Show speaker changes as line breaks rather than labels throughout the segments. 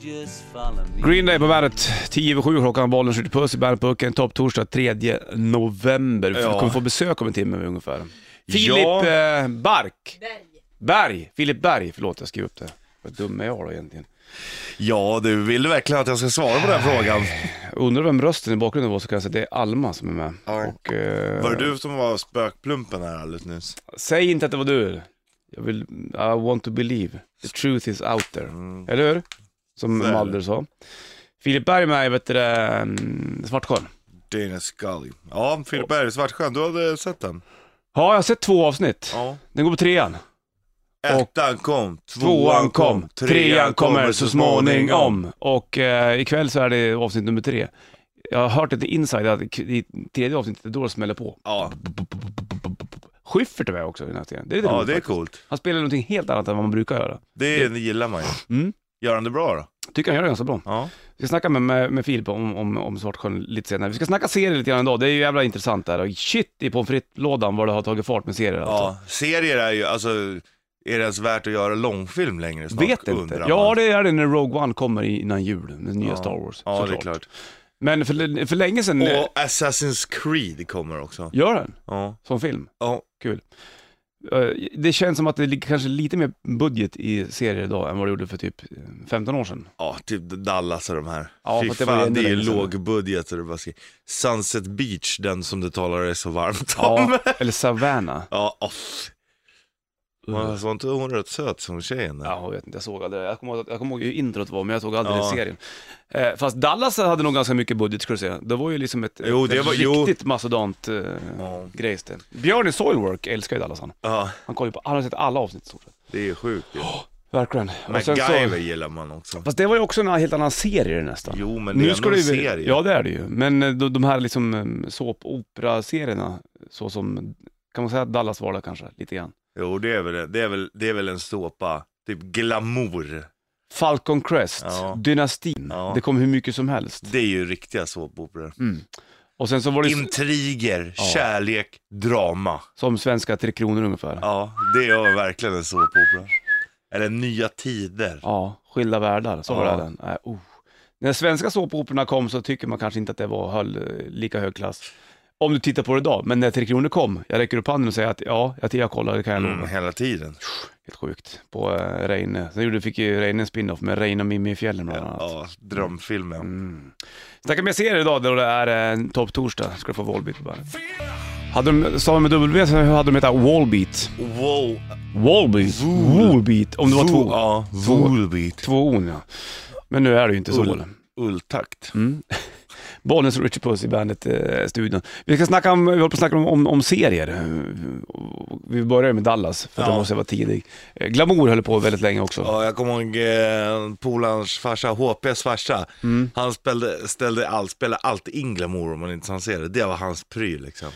just follow me.
Green Day på bandet, 10 över 7 klockan, bollen skjuter puss i Bandetpucken, topptorsdag 3 november. Vi
Ja.
kommer få besök om en timme ungefär.
Ja.
Filip eh, Bark. Berg. Filip Berg, förlåt jag skrev upp det. Vad dum är jag då egentligen?
Ja, du vill du verkligen att jag ska svara på den frågan?
Jag undrar vem rösten i bakgrunden var så kan jag säga att det är Alma som är med.
Ja.
Och, eh,
Var det du som var spökplumpen här alldeles nyss?
Säg inte att det var du. Jag vill, I want to believe. The truth is out there.
Mm.
Eller hur? Som
Så är det.
Malder sa. Filip Berg med, vet du det, mm, Svartsjön.
Dana Scully. Ja, Filip Berg, Svartsjön, du hade sett den?
Ja, jag har sett två avsnitt.
Ja.
Den går på trean.
Ettan kom,
Tvåan kom, trean kommer så småningom. Och eh, ikväll så är det avsnitt nummer tre. Jag har hört lite inside att k- i tredje avsnittet, det är då det smäller på.
Ja,
Schyffert är med också i den här serien. Det är lite
ja
roligt
det är
faktiskt.
coolt.
Han spelar någonting helt annat än vad man brukar göra.
Det, det gillar man ju.
Mm.
Gör han det bra då?
Tycker han gör det ganska bra.
Ja.
Vi ska snacka med, med, med Filip om, om, om Svartsjön lite senare. Vi ska snacka serier lite grann idag, det är ju jävla intressant där. Och shit i pommes frites-lådan vad det har tagit fart med serier alltså.
ja. Serier är ju, alltså, är det ens värt att göra långfilm längre snart?
Vet inte.
undrar
Ja
man.
det är det när Rogue One kommer i- innan jul, den nya
Ja.
Star Wars.
Ja, det är
såklart.
klart.
Men för, för länge sedan, eh,
Och Assassin's Creed kommer också.
gör den
Ja.
som film.
ja.
Kul. Eh, Det känns som att det ligger kanske lite mer budget i serier idag än vad det gjorde för typ 15 år sedan.
Ja, typ Dallas och de här.
Ja,
Fy
fast det
fan,
var ju
det,
ännu
är ju
längre sedan.
lågbudget. så det bara skriker. Sunset Beach, den som du talar är så varmt om.
Ja, eller Savannah.
Ja, off. Man var inte hon rätt söt som tjejen? där?
Ja, jag vet inte, jag såg aldrig det. Jag kommer ihåg, jag kommer ihåg hur introt var, men jag såg aldrig
Ja.
serien. Eh, fast Dallas hade nog ganska mycket budget skulle jag säga. Det var ju liksom ett,
Jo, det
ett
var- jo.
riktigt mastodont eh, grejs det. Björn i Soilwork älskar ju Dallas han.
Ja,
Han kollar ju på, han har sett alla avsnitt i stort sett.
det är sjukt ju.
Verkligen. Och sen
MacGyver
Så,
gillar man också.
fast det var ju också en helt annan serie nästan.
Jo, men det är ändå en
ju-
serie.
Ja, det är det ju. Men eh, de, de här liksom eh, såpopera-serierna, så som, kan man säga att Dallas var där kanske, lite grann.
Jo, det är väl, det är väl, det är väl en såpa. Typ glamour.
Falcon Crest,
Ja.
Dynastin,
Ja.
det kom hur mycket som helst.
Det är ju riktiga såpoperor.
Och sen så var det ju-
Intriger, kärlek, drama.
Som svenska Tre Kronor ungefär. Ja.
Ja, det är verkligen en såpopera. Eller Nya Tider.
Skilda Världar, så var
Ja.
det den. Nej, oh. När svenska såpoperorna kom så tycker man kanske inte att det var höll, eh, lika hög klass. Om du tittar på det idag, men när Tre Kronor kom, jag räcker upp handen och säger att ja, jag, jag kollar, det kan jag lova.
Mm, hela tiden.
Helt sjukt. På eh, Reine. Sen gjorde, fick ju Reine en spin-off med Reine och Mimmi i fjällen bland annat.
Ja, drömfilmen.
Mm. Snacka med serier idag då det är eh, topptorsdag, ska du få Wallbeat på bandet. Hade de, sa de med W så hade de hetat Wallbeat.
Wow.
Wallbeat?
Wool.
Wallbeat, om det var två.
Ja, Volbeat.
Två on ja. Men nu är det ju inte så.
Ull. Ulltakt.
Mm. Bollnäs och Richard Puss i bandet-studion. vi ska snacka om, vi håller på att snacka om, om, om serier. Eh, Vi börjar med Dallas, för att
Ja.
jag måste vara tidig. Eh, Glamour höll på väldigt länge också.
Ja, jag kommer ihåg eh, polarns farsa, HPs farsa.
Mm.
Han spelade, ställde allt, spelade alltid in glamour om man inte han ser det. Det var hans pryl liksom.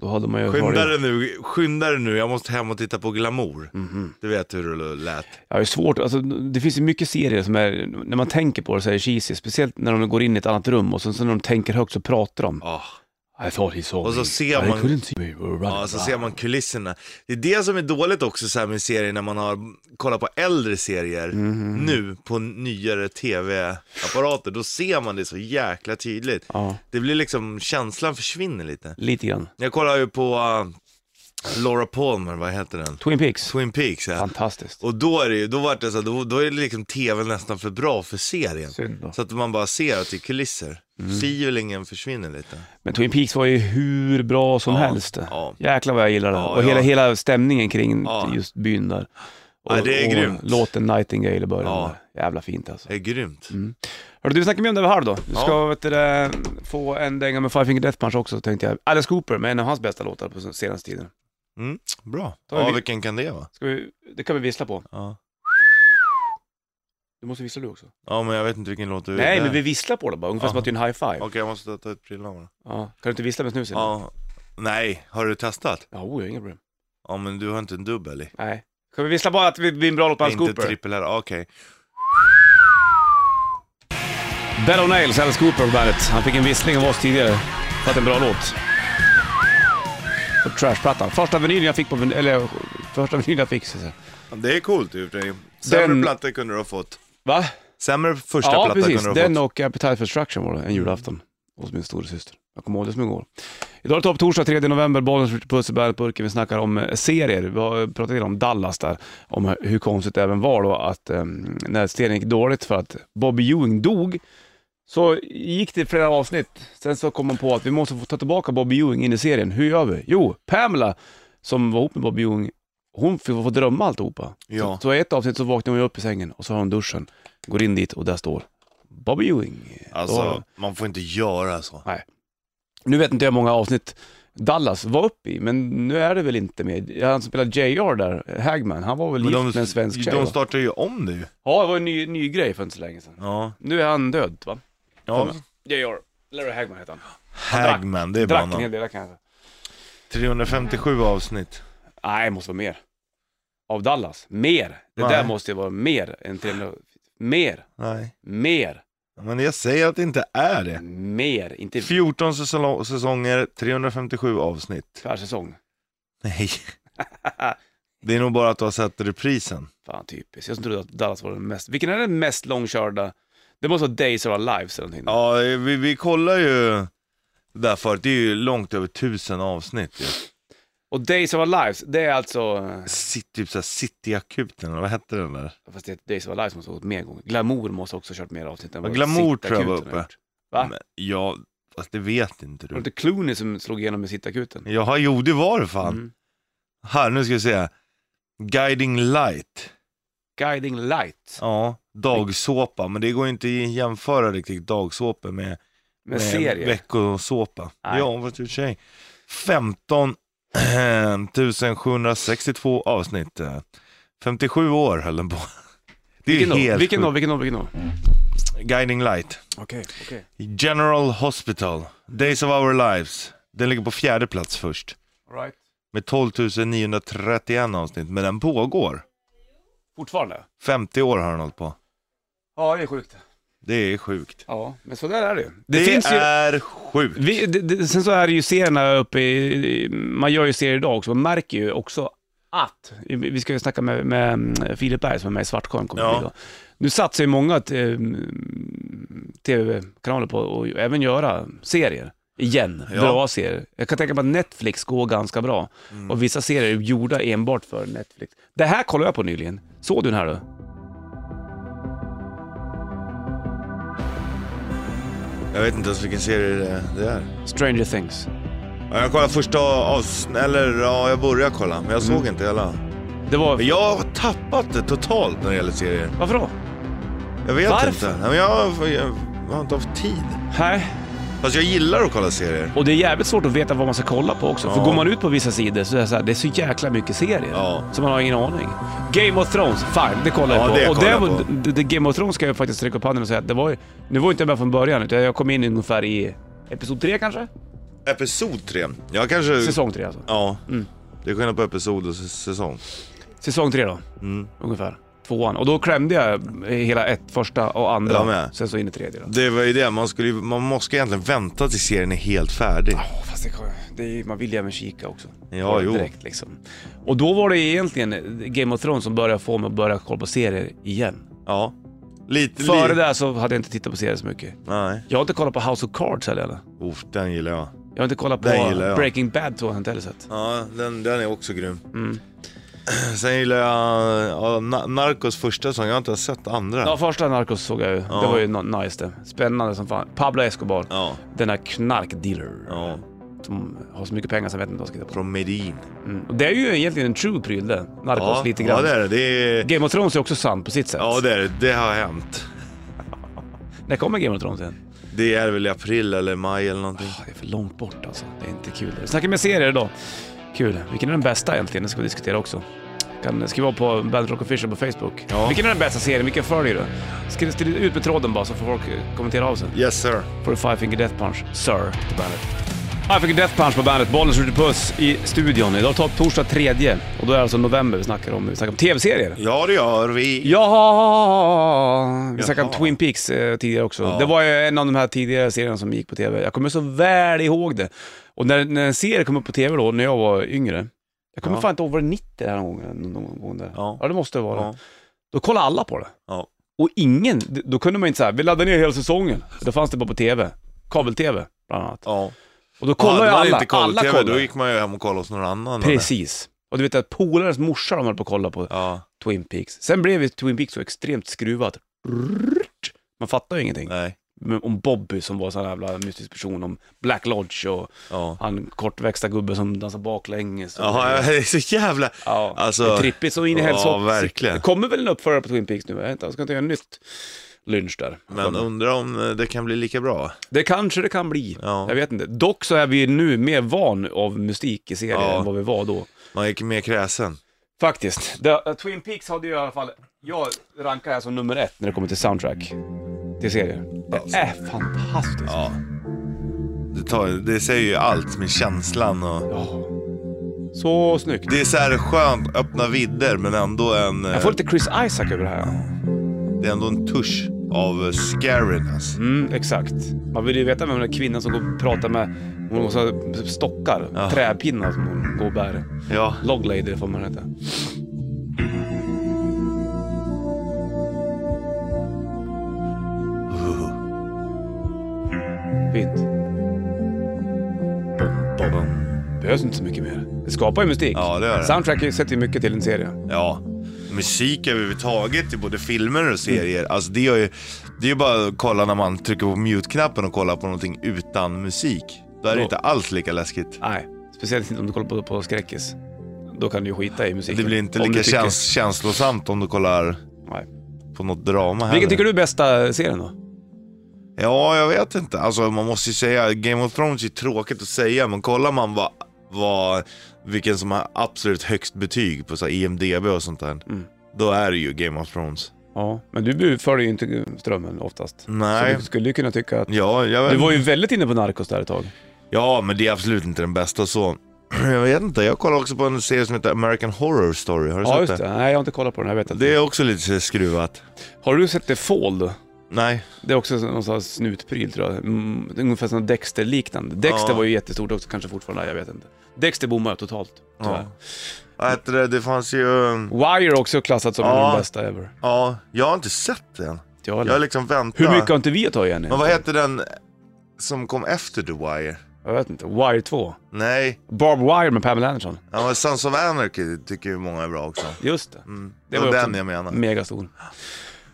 Då hade man ju
Skynda
varit,
dig nu, skynda dig nu, jag måste hem och titta på glamour.
Mm-hmm.
Du vet hur det lät.
ja, det är svårt, alltså, det finns ju mycket serier som är, när man tänker på det så är det cheesy, speciellt när de går in i ett annat rum och sen, sen när de tänker högt så pratar de.
Ja,
I thought he saw
Och så
me.
ser
I
man-
couldn't see me. We were running
ja alltså- så
around.
ser man kulisserna. Det är det som är dåligt också så här med serier när man har kollat på äldre serier nu på nyare tv-apparater. Då ser man det så jäkla tydligt.
Ja,
Det blir liksom, känslan försvinner lite.
lite grann.
Jag kollar ju på eh, Laura Palmer, vad heter den?
Twin Peaks,
Twin Peaks ja.
fantastiskt.
Och då är det ju, då vart det så här, då, då är det liksom tv nästan för bra för serien.
Synd då.
Så att man bara ser att det är kulisser. Feelingen försvinner lite.
Men Twin Peaks var ju hur bra som
Ja,
helst.
ja.
Jäklar vad jag gillade det.
Ja,
och hela,
ja.
hela stämningen kring
Ja.
just byn där. Och,
Ja, det är
och
grymt.
Låten Nightingale i början.
Ja.
där. Jävla fint alltså.
Det är grymt.
Hörru, du snackade med om det var halv då. Du ska
Ja.
vet du, det, få en dänga med Five Finger Death Punch också tänkte jag. Alice Cooper med en av hans bästa låtar på senaste tiden.
Mm. Bra.
Då är
Ja,
vi-
vilken kan det vara?
Ska vi, det kan vi vissla på.
Ja.
Du måste vissla du också.
ja, men jag vet inte vilken låt du
Nej,
det
men
är.
vi visslar på det bara. Ungefär som
Ja.
att det är en high five.
Okej, jag måste ta ut brillorna.
Ja. Kan du inte vissla med snusen?
Ja. Nej, har du testat?
Ja, oh, inga problem.
Ja, men du har inte en dubbel i.
Nej. Kan vi vissla bara att vi blir en bra låt på Alice
Inte
Cooper?
trippel här, okej.
Bell of Nails, Alice Cooper på bandet. Han fick en vissling av oss tidigare för att det är en bra låt. På Trashplattan. Första vinylen jag fick på vin- eller första vinylen jag fick. Så att säga.
Det är coolt i och för sig. Sämre
Den-
plattor kunde du ha fått.
Va?
Sämre första
Ja,
platta
precis.
kunde du ha
Den
fått.
och Appetite for Destruction var det en julafton hos min storasyster. Jag kommer ihåg det som igår. Idag är det topp torsdag 3 november, Bollnäs Puss i Bärnburken. Vi snackar om eh, serier. Vi har pratat igenom Dallas där, om hur konstigt det även var då att eh, när serien gick dåligt för att Bobby Ewing dog, så gick det flera avsnitt. Sen så kom man på att vi måste få ta tillbaka Bobby Ewing in i serien. Hur gör vi? Jo, Pamela, som var ihop med Bobby Ewing, hon fick få drömma alltihopa.
Ja.
Så, så i ett avsnitt så vaknar hon ju upp i sängen och så har hon duschen. Går in dit och där står Bobby Ewing.
Alltså,
Då-
man får inte göra så.
nu vet inte jag hur många avsnitt Dallas var uppe i, men nu är det väl inte mer. Han som spelade JR där, Hagman, han var väl gift med en svensk tjej?
de
va?
startar ju om det ju.
Ja, det var en ny, ny grej för inte så länge sedan.
Ja.
Nu är han död va?
ja.
JR, Larry Hagman heter han.
Hagman, det är bara
Drack en hel
namn.
del kanske.
357 avsnitt.
Nej, det måste vara mer. Av Dallas? Mer! Det
Nej.
där måste ju vara mer än 300. Mer,
Nej.
mer,
Men jag säger att det inte är det.
mer. Inte
14 säsong- säsonger, 357 avsnitt.
per säsong.
Nej. Det är nog bara att du har sett reprisen.
Fan typiskt. Jag som trodde att Dallas var den mest... Vilken är den mest långkörda? Det måste vara Days of Our Lives eller någonting.
Ja, vi, vi kollar ju där förut. Det är ju långt över tusen avsnitt. ju.
Och Days of Our Lives, det är alltså...
City, typ såhär Cityakuten, eller vad hette den där?
Fast det, Days of Our Lives måste ha gått mer gånger. Glamour måste också ha kört mer avsnitt än vad
Ja, Glamour
Sittakuten
tror jag var
har
uppe.
gjort. Va?
Men, ja, fast det vet inte
Var det
du.
inte Clooney som slog igenom med Sittakuten?
Jaha, jo det var det fan.
Mm.
Här, nu ska vi se. Guiding light.
Guiding Light.
Ja, dagsåpa. Men det går inte att jämföra riktigt dagsåpa med,
Med serie.
veckosåpa.
Nej.
Ja, vad du säger. 15 762 ehm, avsnitt. eh. 57 år höll den på. Det är
vilken, då?
helt
vilken då?
sjukt.
Vilken då? Vilken då?
Guiding light.
Okej, okej.
General Hospital. Days of our lives. Den ligger på fjärde plats först.
All right.
Med 12 931 avsnitt. Men den pågår.
Fortfarande?
50 år har den hållit på.
Ja, det är sjukt.
Det är sjukt.
Ja, men så där är det ju.
Det,
Det, finns ju...
är sjukt.
Vi, det, det, sen så är det ju serierna uppe i, i- man gör ju serier idag också, man märker ju också att, vi ska ju snacka med, med mm, Filip Berg som är med i Svartsjön, kommer
Ja.
ja. idag. Nu satsar ju många eh, tv-kanaler på att även göra serier. Igen,
Ja.
bra serier. Jag kan tänka mig att Netflix går ganska bra.
Mm.
Och vissa serier är gjorda enbart för Netflix. Det här kollade jag på nyligen. Såg du den här då?
Jag vet inte ens vilken serie det- det är.
Stranger Things.
Ja, Jag kollade första avsnittet, eller ja, jag började kolla, men jag
Mm.
såg inte hela.
Det var...
Men jag har tappat det totalt när det gäller serier.
Varför då?
Jag vet
Varför?
inte. Nej, Men jag, jag, jag har inte haft tid.
Nej.
Fast jag gillar att kolla serier.
Och det är jävligt svårt att veta vad man ska kolla på också.
Ja.
För går man ut på vissa sidor så är det så, här, det är så jäkla mycket serier.
Ja.
Så man har ingen aning. Game of Thrones, fine, det kollar
Ja,
jag på.
det
och
kollar jag
var-
på.
Det, det Game of Thrones ska jag faktiskt sträcka upp handen och säga att det var ju, nu var ju inte jag med från början utan jag kom in ungefär i episod tre kanske?
Episod 3. Jag kanske...
Säsong tre alltså.
Ja. Det är skillnad på episod och s- säsong.
Säsong tre då,
Mm.
ungefär. Tvåan. Och då klämde jag hela ett, första och
Jag
andra.
med.
Sen så in i tredje då.
Det var ju det, man, skulle, ju- man måste egentligen vänta tills serien är helt färdig.
Ja, fast det, det är, ju- man vill ju även kika också.
Ja, jo.
Direkt liksom. Och då var det egentligen Game of Thrones som började få mig att börja kolla på serier igen.
Ja. Lite...
Före
li-
det här så hade jag inte tittat på serier så mycket.
Nej.
Jag har inte kollat på House of Cards heller. eller?
Uff, den gillar jag.
Jag har inte kollat på
Den gillar jag.
Breaking Bad tror jag inte heller sett.
Ja, den, den är också grym.
Mm.
Sen gillar jag ja, Na- Narcos första säsong, jag har inte ens sett andra.
Ja, första Narcos såg jag ju. Det var ju no- nice det. Spännande som fan. Pablo Escobar,
Ja,
denna knarkdealer
ja.
som har så mycket pengar så jag vet inte vad jag ska hitta på.
Från Medin.
Mm. Och det är ju egentligen en true pryl det, Narcos
Ja,
lite grann.
ja, det är det. det. Är...
Game of Thrones är också sant på sitt sätt.
Ja, det är det. Det har hänt.
När kommer Game of Thrones igen?
Det är väl i april eller maj eller någonting.
Ah, det är för långt bort alltså. Det är inte kul. Vi snackar med serier idag. Kul. Vilken är den bästa egentligen? Det ska vi diskutera också. Kan skriva på Bandit Rock Official på Facebook.
Ja.
Vilken är den bästa serien? Vilken följer du? Skriv skriv ut med tråden bara så får folk eh, kommentera av sig.
Yes sir.
Får du Five Finger Death Punch, Sir, på bandet. Five Finger Death Punch på bandet, Bollnäs skjuter puss i studion. Idag tar torsdag tredje och då är det alltså november vi snackar om. Vi snackar om tv-serier.
Ja, det gör vi.
Ja, vi snackade om
Jaha.
Twin Peaks eh, tidigare också.
Ja.
Det var ju en av de här tidigare serierna som gick på tv. Jag kommer så väl ihåg det. Och när, när en serie kom upp på tv då, när jag var yngre. Jag kommer
Ja.
fan inte ihåg, var det 90 här någon gång? Någon gång där.
Ja.
Ja. det måste det vara.
Ja.
Då kollade alla på det.
Ja.
Och ingen, d- då kunde man inte säga vi laddar ner hela säsongen. Då fanns det bara på TV. Kabel-TV, bland annat.
Ja.
Och då kollade ju
hade man
alla.
inte koll
alla
TV, då
kollade.
gick man ju hem och kollade hos någon annan. eller?
Precis. Och du vet att polarens morsa de höll på att kolla på
Ja,
Twin Peaks. Sen blev ju Twin Peaks så extremt skruvat. Rrrt. Man fattar ju ingenting.
nej.
Men Om Bobby som var en sån här jävla mystisk person, om Black Lodge och
Ja.
han kortväxta gubben som dansar baklänges. och-
Jaha, det är så jävla...
Ja,
Alltså-
det är trippigt så in i
Ja,
hälsohopp.
verkligen.
Det kommer väl en uppförare på Twin Peaks nu, jag vet inte, jag ska inte göra en nytt lynch där.
Men undrar om eh, det kan bli lika bra.
Det kanske det kan bli.
Ja.
Jag vet inte. Dock så är vi nu mer van av mystik i serien
Ja.
än vad vi var då.
Man gick mer kräsen.
Faktiskt. Det, Twin Peaks hade ju i alla fall, jag rankar här som nummer ett när det kommer till soundtrack till serier. Det är fantastiskt. Ja.
Ja. Det, tar, det säger ju allt med känslan och...
Så snyggt.
Det är så här skönt, öppna vidder men ändå en... eh,
Jag får lite Chris Isaac över det här.
Det är ändå en tusch av eh, scariness.
Mm, exakt. Man vill ju veta vem den där kvinnan som går och pratar med, hon har så här stockar,
Ja.
träpinnar som hon går och bär.
Ja.
Log lady får man heta. Fint. Bum, bum, bum. Behövs inte så mycket mer. Det skapar ju musik.
Ja, det gör det.
Soundtrack sätter ju mycket till en serie.
Ja, musik överhuvudtaget i både filmer och serier.
Mm.
Alltså det är ju det är ju bara att kolla när man trycker på mute-knappen och kollar på någonting utan musik. Då är det
Ja.
inte alls lika läskigt.
Nej, speciellt inte om du kollar på, på skräckis. Då kan du ju skita i musiken.
Det blir inte
Om
lika
du tycker-
käns känslosamt om du kollar
Nej.
på något drama heller.
Vilken tycker du är bästa serien då?
Ja, jag vet inte. Alltså man måste ju säga, Game of Thrones är tråkigt att säga, men kollar man vad, vad vilken som har absolut högst betyg på så här, IMDB och sånt där, då är det ju Game of Thrones.
Ja, men du följer ju inte strömmen oftast.
Nej.
Så du skulle ju kunna tycka att...
Ja, jag vet
Du var ju väldigt inne på Narcos där ett tag.
Ja, men det är absolut inte den bästa så. Jag vet inte, jag kollar också på en serie som heter American Horror Story, har du
Ja,
sett
just det. Nej, jag har inte kollat på den. Jag vet inte.
Det är också lite så här skruvat.
Har du sett The Fall då?
Nej,
Det är också någon sån här snutpryl tror jag. Mm, ungefär som Dexter-liknande. Dexter
Ja.
var ju jättestort också, kanske fortfarande, jag vet inte. Dexter bommade totalt, tyvärr.
vad heter det, det fanns ju... um,
Wire också klassat som en
Ja.
av de bästa ever.
Ja, jag har inte sett den.
Jag
Jag har
eller?
liksom väntat.
Hur mycket har inte vi att ta igen?
Men vad heter den som kom efter The Wire?
Jag vet inte. Wire 2.
Nej,
Barb Wire med Pamela Anderson.
ja, men Sons of Anarchy tycker ju många är bra också.
Just det.
Det
ju
var
också
Mm. den jag menar.
Megastor.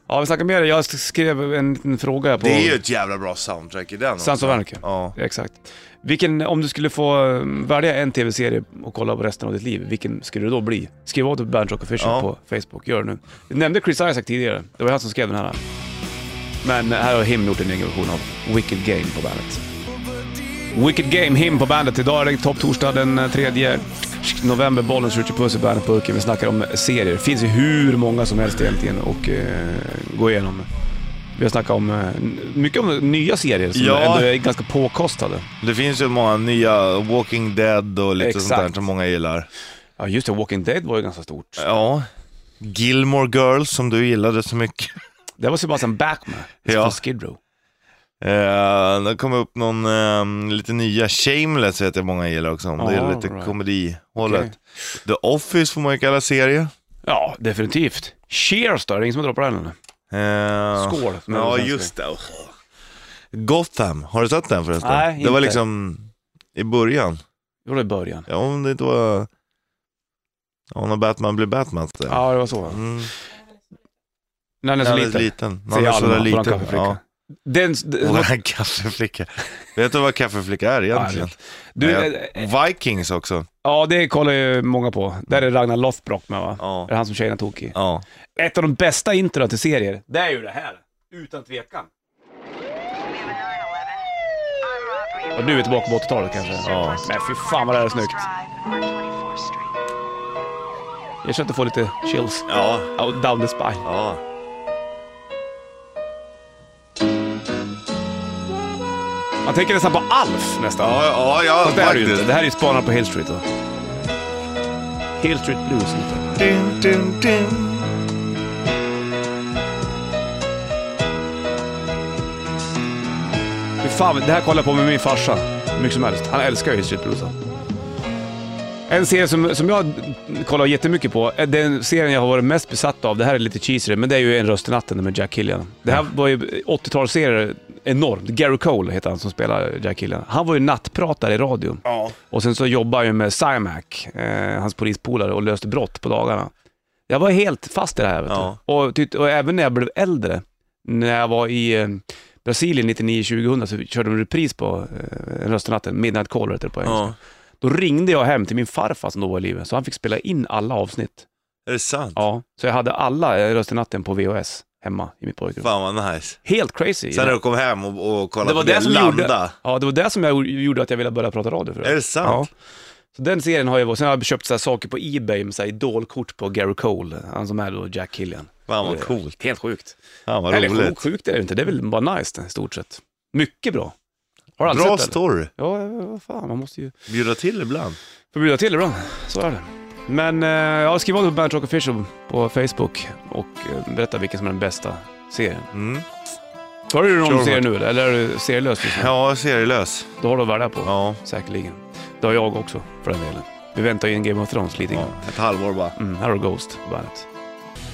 Ja, vi snackar mer. Jag skrev en liten fråga här på...
Det är ju ett jävla bra soundtrack i den
Sons
också.
of Anarchy.
Ja.
Exakt. Vilken, om du skulle få eh, välja en tv-serie och kolla på resten av ditt liv, vilken skulle det då bli? Skriv åt Bandrock Official
Ja.
på Facebook, gör det nu. Du nämnde Chris Isaac tidigare, det var han som skrev den här. Men eh, här har Him gjort en egen version av Wicked Game på bandet. Wicked Game, Him på bandet. Idag är det topptorsdag den eh, 3 november. Bollens Richard Puss i bandet Burken. Vi snackar om serier. Det finns ju hur många som helst egentligen och eh, gå igenom. Vi har snackat om, eh, mycket om nya serier som
Ja.
ändå är ganska påkostade.
Det finns ju många nya, Walking Dead och lite sånt där
Exakt.
som många gillar.
Ja just det, Walking Dead var ju ganska stort.
Ja. Gilmore Girls som du gillade så mycket.
Det var Sebastian Backman
Ja.
från Skid Row.
Eh, det kom upp någon eh, lite nya, Shameless vet jag många gillar också. Om det är
Ah,
lite
right.
komedihållet.
Okej.
The Office får man ju kalla serie.
Ja, definitivt. Cheers då, är det ingen som har droppat den eller?
Eh,
Skål. som är
Ja,
svenska.
just det. Åh. Gotham, har du sett den förresten?
Nej,
Det var
inte.
liksom i början.
Det var det i början.
Ja, om det inte var... Ja, när Batman blev Batman. Så.
Ja, det var så.
Mm.
När den är
När
så
han är
liten.
liten. När han
Säger
är sådär
Alma,
liten.
våran kaffeflicka.
Ja.
Den,
Våran kaffeflicka. Vet du vad kaffeflicka är egentligen?
du,
Nej,
eh,
Vikings också.
ja, det kollar ju många på. Där är Ragnar Lothbrok med va?
Ja.
Det är han som tjejerna tog i.
Ja.
Ett av de bästa introna till serier, det är ju det här. Utan tvekan. Och nu är vi tillbaka på 80-talet kanske.
Ja.
Men fy fan vad det här är snyggt. Jag känner att jag får lite chills.
Ja.
Out down the spine.
Ja.
Man tänker nästan på Alf nästan.
Ja, ja, ja
Fast det här är ju inte.
faktiskt.
Det här är ju Spanarna på Hill Street då. Hill Street Blues lite.
Dun, dun, dun.
Fy fan, det här kollar jag på med min farsa. Hur mycket som helst. Han älskar ju Hill Street Blues. då. En serie som, som jag kollar jättemycket på, eh, den serien jag har varit mest besatt av, det här är lite cheesy men det är ju En röst i natten med Jack Killian. Det här var ju 80-talsserie, enormt. Gary Cole heter han som spelar Jack Killian. Han var ju nattpratare i radion.
Ja.
Och sen så jobbade han ju med Simac, eh, hans polispolare, och löste brott på dagarna. Jag var helt fast i det här. Vet
Ja.
du? Och, tyckte- och även när jag blev äldre, när jag var i eh, Brasilien 99-2000 så körde de en repris på eh, En röst i natten, Midnight Caller heter det på engelska.
ja.
Då ringde jag hem till min farfar som då var i livet, så han fick spela in alla avsnitt.
Är det sant?
Ja, så jag hade alla eh, Röst i natten på VHS hemma i mitt pojkrum.
Fan vad nice.
Helt crazy.
Sen när du kom hem och, och kollade
det var
på
det som
landa.
gjorde, ja, det var det som jag gjorde att jag ville börja prata radio för.
Är det
Ja.
sant?
Så den serien har jag varit. Sen har jag köpt så här saker på Ebay med så här idolkort på Gary Cole, han som är då Jack Killian. Eh,
Fan vad coolt.
Helt sjukt.
Fan vad
Eller
roligt.
sjukt sjuk är det ju inte, det är väl bara nice i stort sett. Mycket bra. Har du aldrig
Bra
sett det? eller?
story.
Ja, ja, vad fan, man måste ju...
Bjuda till ibland.
får bjuda till ibland. Så är det. Men eh, ja, skriv om det på Bandrock Official på Facebook och eh, berätta vilken som är den bästa serien.
Mm.
Följer du någon
Sure.
serie nu eller? eller är du serielös just nu?
Ja, serielös.
Då har du att välja på,
Ja.
säkerligen. Det har jag också för den delen. Vi väntar ju in Game of Thrones lite grann.
ja. Ett halvår bara.
Mm, här har du Ghost på bandet.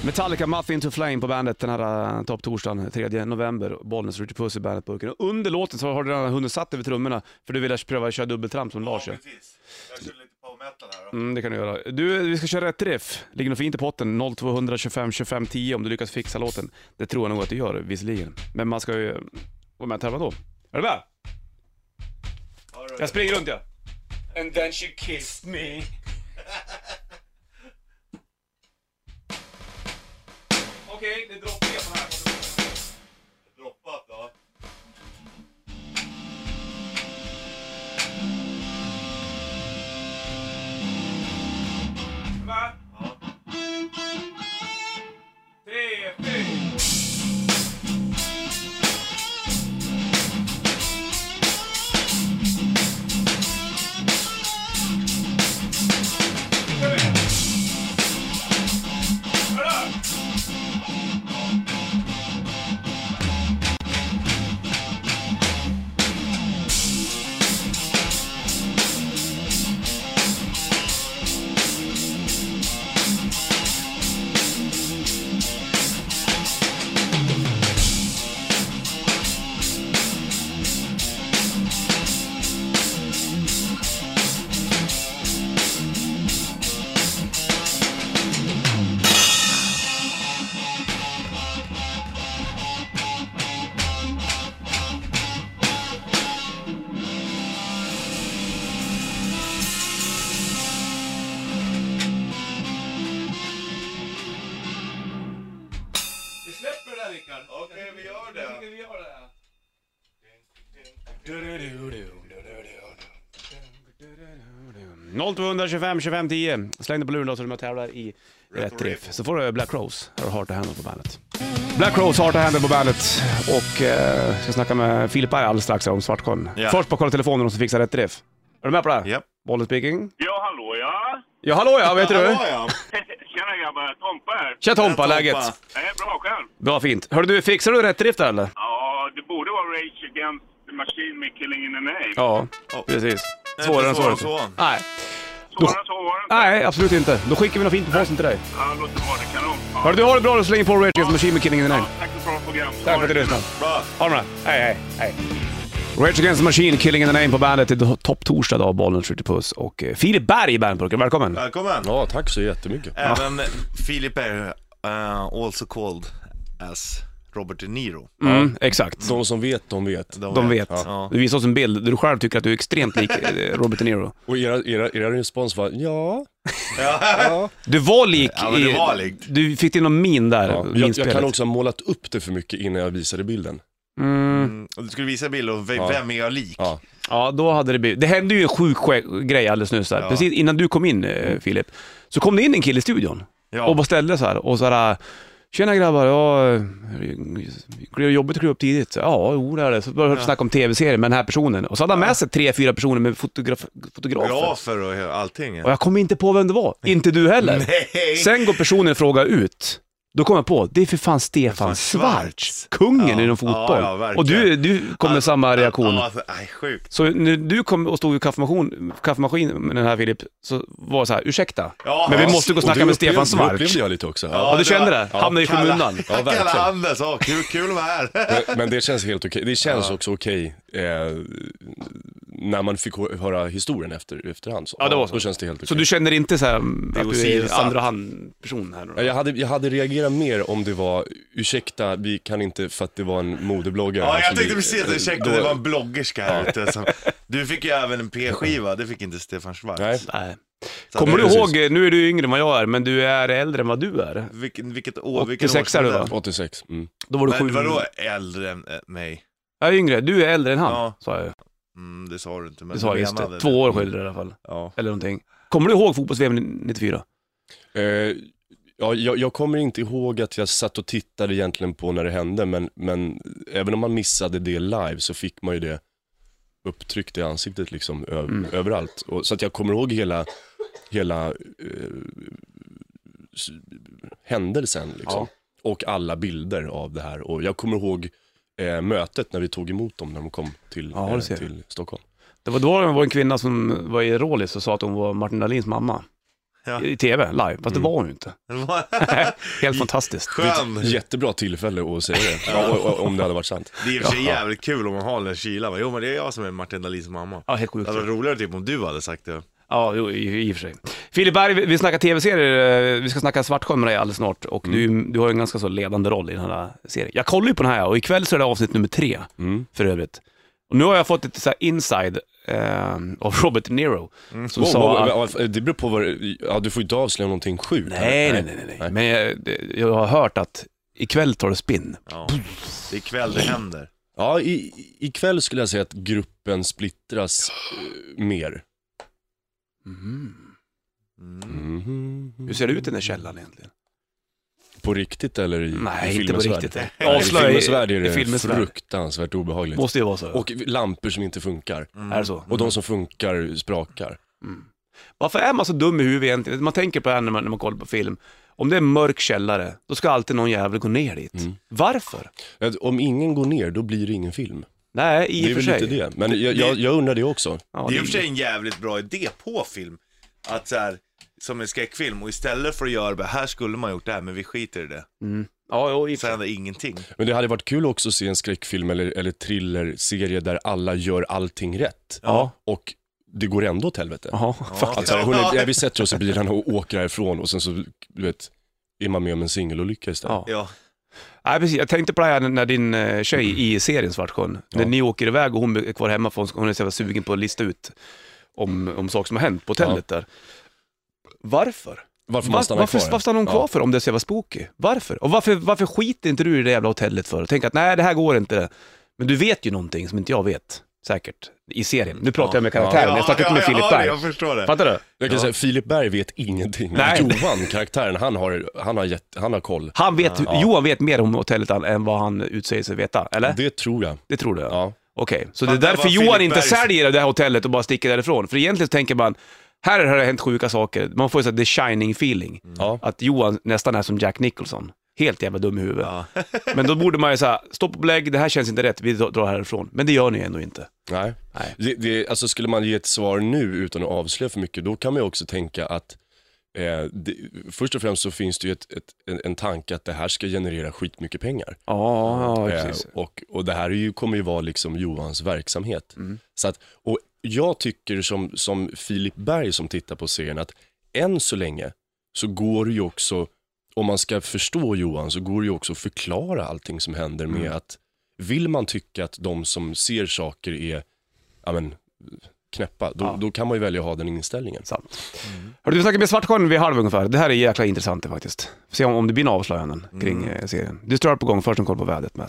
Metallica Muffin to Flame på bandet den här eh, topptorsdagen 3 november. Bollnäs Ritchie Puss i bandet-burken. Och Under låten så har du redan hunnit satt över trummorna för du ville pröva att köra dubbeltramp som Lars gör.
precis. Jag kör lite på metal här då.
Mm, det kan du göra. Du, vi ska köra ett riff. Ligger något fint i potten? 0200 25 25 10 om du lyckas fixa låten. Det tror jag nog att du gör, visserligen. Men man ska ju eh, vara med och tävla då. Är du med? Jag springer runt ja. And then she kissed me. Okej, det är dropp E på den här.
Droppat då.
Va? Tre, fyra. Kom igen. Hallå! Vi släpper det där Rickard.
Okej, vi gör det.
Jag tycker vi gör det. här. 0225 25 10. Släng dig på luren då så du med och tävlar i rätt riff. Så får du Black Rose. Här har du Heart to Handle på bandet. Black Rose, Heart to Handle på bandet. Och eh, ska snacka med Filip Berg alldeles strax här om Svartsjön.
Ja.
Först bara kolla telefonen och så fixar rätt riff. Är du med på det här?
Japp.
Bollen speaking.
Ja, hallå ja!
Ja, hallå ja, vad heter du?
ja.
Tjena grabbar, Tompa här.
Tja Tompa,
Tompa.
läget?
Det är bra själv.
Bra, fint. Hörru du, fixar du rätt riff där eller?
Ja, det borde vara Rage Against the Machine med Killing in the Name.
Ja,
Ja.
precis.
Nej,
Svårare än
inte svårare än
så.
så.
Nej.
Svårare än så var det inte.
Nej, absolut inte. Då skickar vi något fint på posten till dig.
Ja, låter bra. Det kanon. Ja.
Hörru du, har det bra. Du slänger på Rage Against the Machine med Killing in the Name.
Ja, Tack för ett bra program.
Tack för att du lyssnade.
Bra.
Ha det bra. Hej, hej, hej. Rage Against the Machine, Killing in the Name på bandet. Det är topptorsdag idag, bollen skjuter puss. Och eh, Filip Berg i bandburken, välkommen.
Välkommen.
Ja, tack så jättemycket.
Även Philip är eh, also called as Robert De Niro.
Mm, exakt.
De som vet, de vet.
De vet.
Ja.
Du visade oss en bild där du själv tycker att du är extremt lik eh, Robert De Niro.
Och era, era, era respons var ja. ja.
Du var lik.
Ja, men du
i-
var lik.
Du fick till någon min där,
ja. Jag, jag
minspelet.
kan också ha målat upp det för mycket innan jag visade bilden.
Mm. Och Du skulle visa bilder och ve- vem är jag lik?
Ja.
Ja, då hade det blivit... Det hände ju en sjuk ske- grej alldeles nyss där.
Ja.
Precis innan du kom in, eh, Filip, så kom det in en kille i studion
Ja.
och bara ställde så här och så här... Tjena grabbar, ja, eh, det är jobbigt att kliva upp tidigt. Så, Ja, jo det är det. Så började vi snacka om tv-serier med den här personen. Och så hade han med sig tre, fyra personer med fotograf fotografer.
Grafer och he- allting.
Och jag kom inte på vem det var. Inte du heller.
Nej.
Sen går personen i fråga ut. Då kom jag på, det är för fan Stefan
Fan,
Schwarz,
Schwarz.
kungen
Ja.
inom fotboll.
Ja, ja, verkligen. Alltså,
och du, du kom med samma reaktion.
Ja, nej, sjukt.
Så när du kom och stod i kaffemaskin, kaffemaskin med den här Filip, så var det så här, ursäkta,
Ja,
men vi
ja.
måste gå och
Och
snacka
du
med
upplevde-
Stefan
Det upplevde
Schwarz.
jag lite också.
Ja,
Ja.
du kände det?
Ja,
Hamnade i
kalla-
skundan.
Ja,
verkligen.
Kalle Anders, ja, kul, kul att vara här.
Men, men det känns helt okej. Det känns också okej eh, när man fick hö- höra historien efter, efterhand. Så.
Ja, det var så.
Då känns det helt okej.
Så du känner inte så här, mm, att du är
åsidosatt.
andra hand person här?
Ja, Jag hade, jag hade reagerat mer om det var, ursäkta, vi kan inte för att det var en modebloggare.
Ja,
här
jag
som
tänkte
vi-
precis det. Ursäkta,
då-
det var en bloggerska här ute. Som, du fick ju även en P-skiva, det fick inte Stefan Schwarz.
Nej,
Nej.
Så
Kommer
att-
du
precis.
ihåg, nu är du yngre än vad jag är, men du är äldre än vad du är.
Vilken, vilket år, vilken
86 är du,
årsmodell?
va?
86. Mm.
Då var du sju.
Men vadå äldre än eh, mig?
Jag är yngre, du är äldre än han,
Ja.
sa jag ju.
Mm, det sa du inte, men
Det sa jag, just
menade
det. Två år skiljer i alla fall.
Ja.
Eller någonting. Kommer du ihåg fotbolls-VM 94?
Eh, ja, jag, jag kommer inte ihåg att jag satt och tittade egentligen på när det hände, men, men även om man missade det live så fick man ju det upptryckt i ansiktet liksom ö- överallt. Och, så att jag kommer ihåg hela, hela eh, s- händelsen liksom. Och alla bilder av det här. Och jag kommer ihåg eh, mötet när vi tog emot dem när de kom till,
Ja, det
eh,
ser.
till Stockholm.
Det var då det var en kvinna som var i Rålis och sa att hon var Martin Dahlins mamma.
Ja. Mm.
I tv, live. Fast det var hon ju inte. Helt fantastiskt.
Skön!
Jättebra tillfälle att säga det, ja, och, och, om det hade varit sant.
Det är i och för sig jävligt kul om man har den kylan. va? Jo men det är jag som är Martin Dahlins mamma.
Ja, helt sjukt.
Det hade varit roligare typ om du hade sagt det.
Ja, jo, i, i och för sig. Filip Berg, vi vi snackar tv-serier. eh, Vi ska snacka Svartsjön med dig alldeles snart och
Mm.
du, du har ju en ganska så ledande roll i den här serien. Jag kollar ju på den här och ikväll så är det avsnitt nummer tre,
Mm.
för övrigt. Och nu har jag fått ett så här inside eh, av Robert De Niro, som
Mm. Wow,
sa
wow,
att-
wow, wow, det beror på vad det- ja, du får ju inte avslöja någonting sjukt.
Nej, nej, nej, nej, nej. Men jag, det- jag har hört att ikväll tar det spinn.
Ja. Det är kväll det händer.
Ja, i, i- ikväll skulle jag säga att gruppen splittras eh, mer.
Mm. Hur ser det ut i den där källaren egentligen?
På riktigt eller i,
Nej,
Mm. i
inte
filmens
på
värld?
riktigt.
Nej, I
Avslöja i-
filmens värld är
i
det
filmens värld.
fruktansvärt obehagligt.
Måste Mm. ju vara så.
Och lampor som inte funkar.
är det så?
Och de som funkar sprakar.
Varför är man så dum i huvudet egentligen? Man tänker på det här när man, när man kollar på film. Om det är en mörk källare, då ska alltid någon jävel gå ner dit. Varför?
Att Om ingen går ner, då blir det ingen film.
Nej, i och
Det är
för
väl
sig.
lite det. Men jag, jag, jag undrar det också.
Ja,
Det är i och för sig en jävligt bra idé på film. Att så här, som en skräckfilm och istället för att göra det här skulle man gjort det här men vi skiter i det.
Ja, jo, i och
Så
för sig.
händer ingenting.
Men det hade varit kul också att se en skräckfilm eller, eller thrillerserie där alla gör allting rätt.
Ja.
Och det går ändå åt helvete.
Jaha.
Att
alltså,
så här, hörni, ja, vi sätter oss i bilarna och åker härifrån och sen så, du vet, är man med om en singelolycka istället.
Ja.
Ja.
Nej, precis. Jag tänkte på det här när din eh, tjej i serien Svartsjön, när ni åker iväg och hon är kvar hemma för hon- hon är så jävla sugen på att lista ut om, om saker som har hänt på hotellet där. Varför?
Varför
Var-
man stannar
varför,
kvar?
varför stannar hon kvar
Ja.
för om det är så jävla spooky? Varför? Och varför, varför skiter inte du i det jävla hotellet för? Tänk att nej, det här går inte. det. Men du vet ju någonting som inte jag vet, säkert, i serien. Nu pratar jag med karaktären, jag snackar inte med Filip
ja,
Berg.
jag förstår det.
Fattar du?
Jag kan säga, Filip Berg vet ingenting.
Nej.
Johan, karaktären, han har, han har, gett, han har koll.
Han vet, Johan vet mer om hotellet än- än vad han utsäger sig veta, eller? Det,
Det tror jag.
tror du?
Ja.
Okej, så det är
Fattar
därför
vad
Johan
Filip
inte
Berg-
säljer det här hotellet och bara sticker därifrån. För egentligen så tänker man, här har det hänt sjuka saker. Man får ju såhär the shining feeling.
Ja.
Att Johan nästan är som Jack Nicholson. Helt jävla dum i huvudet.
Ja.
Men då borde man ju säga, stopp och belägg, det här känns inte rätt, vi dra- drar härifrån. Men det gör ni ändå inte.
Nej.
Nej.
Det, det, alltså skulle man ge ett svar nu utan att avslöja för mycket, då kan man ju också tänka att eh, det, först och främst så finns det ju ett, ett, en, en tanke att det här ska generera skitmycket pengar.
Ja,
Eh, och, och det här är ju, kommer ju vara liksom Johans verksamhet.
Mm.
Så att, och jag tycker som, som Filip Berg som tittar på serien att än så länge så går det ju också, om man ska förstå Johan, så går det ju också att förklara allting som händer med
Mm.
att vill man tycka att de som ser saker är ja, men, knäppa, då, då kan man ju välja att ha den inställningen.
Sant. Hörru, du snackar med Svartsjön vid halv ungefär. Det här är jäkla intressant det faktiskt. Får se om, om det blir några avslöjanden kring eh, serien. Disturbed på gång, först en koll på vädret med.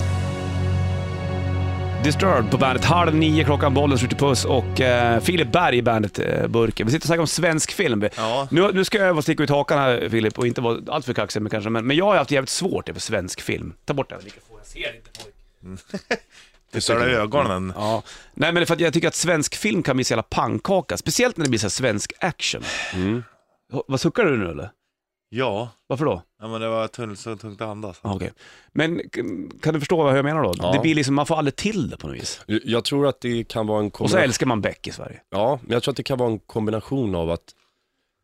Disturbed på bandet, halv nio klockan, bollen skjuter puss och eh, Filip Berg i bandet eh, Burken. Vi sitter och snackar om svensk film.
Ja.
Nu, nu ska jag vara sticka ut hakan här Filip och inte vara alltför kaxig men kanske, men, men jag har haft jävligt svårt för svensk film. Ta bort den här mikrofonen, jag ser inte pojk.
Du störde ögonen.
Ja, nej men för att jag tycker att svensk film kan bli Mm. så jävla pannkaka, speciellt när det blir så här svensk action. Vad suckar du nu eller?
Ja,
Varför då?
ja men det var tungt, så tungt att andas.
Ah, okej. Men k- kan du förstå vad jag menar då?
Ja.
Det blir liksom, man får aldrig till det på något vis.
Jag tror att det kan vara en
Och så
kombination,
älskar man Beck i Sverige.
ja, men jag tror att det kan vara en kombination av att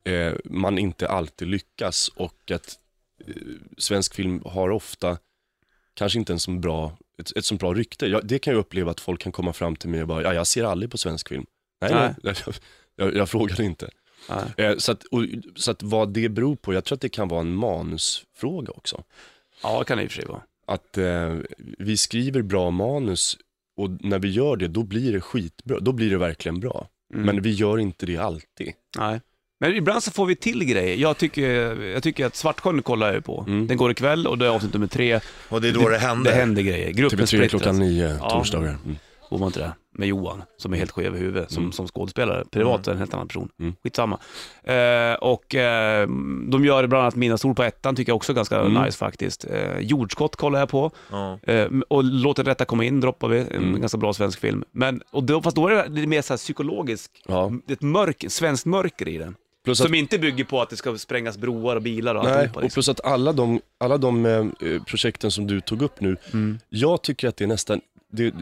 eh, man inte alltid lyckas och att eh, svensk film har ofta kanske inte en så bra, ett, ett så bra rykte. Jag, det kan jag uppleva att folk kan komma fram till mig och bara, ja jag ser aldrig på svensk film. Nej,
Nej.
nej. Jag, jag, jag frågade inte.
Nej.
Eh, så, att, och, så att vad det beror på, jag tror att det kan vara en manusfråga också.
Ja, det kan det i och för sig vara.
att eh, vi skriver bra manus och när vi gör det, då blir det skitbra. Då blir det verkligen bra.
Mm.
Men vi gör inte det alltid.
Nej. Men ibland så får vi till grejer. Jag tycker, jag tycker att Svartsjön kollar jag ju på.
Mm.
Den går ikväll och det är avsnitt nummer tre.
Och det är då det, händer.
Det händer grejer. Gruppen
TV3
splittras.
Typ klockan nio,
Ja.
torsdagar. Mm.
Bor man inte det? Med Johan, som är helt skev i huvudet som,
Mm.
som skådespelare. Privat är en helt annan person.
Mm.
Skitsamma. Eh, och eh, de gör bland annat Mina sol på ettan, tycker jag också är ganska
Mm.
nice faktiskt. Eh, jordskott kollar jag på.
Ja.
Eh, och Låt den rätta komma in droppar vi, en
Mm.
ganska bra svensk film. Men, och då, fast då är det lite mer så här psykologisk,
Ja.
det är ett mörk, svenskt mörker i den.
Plus att,
Som inte bygger på att det ska sprängas broar och bilar och
nej,
alltihopa.
och
Liksom.
plus att alla de, alla de eh, projekten som du tog upp nu,
Mm.
jag tycker att det är nästan, det, det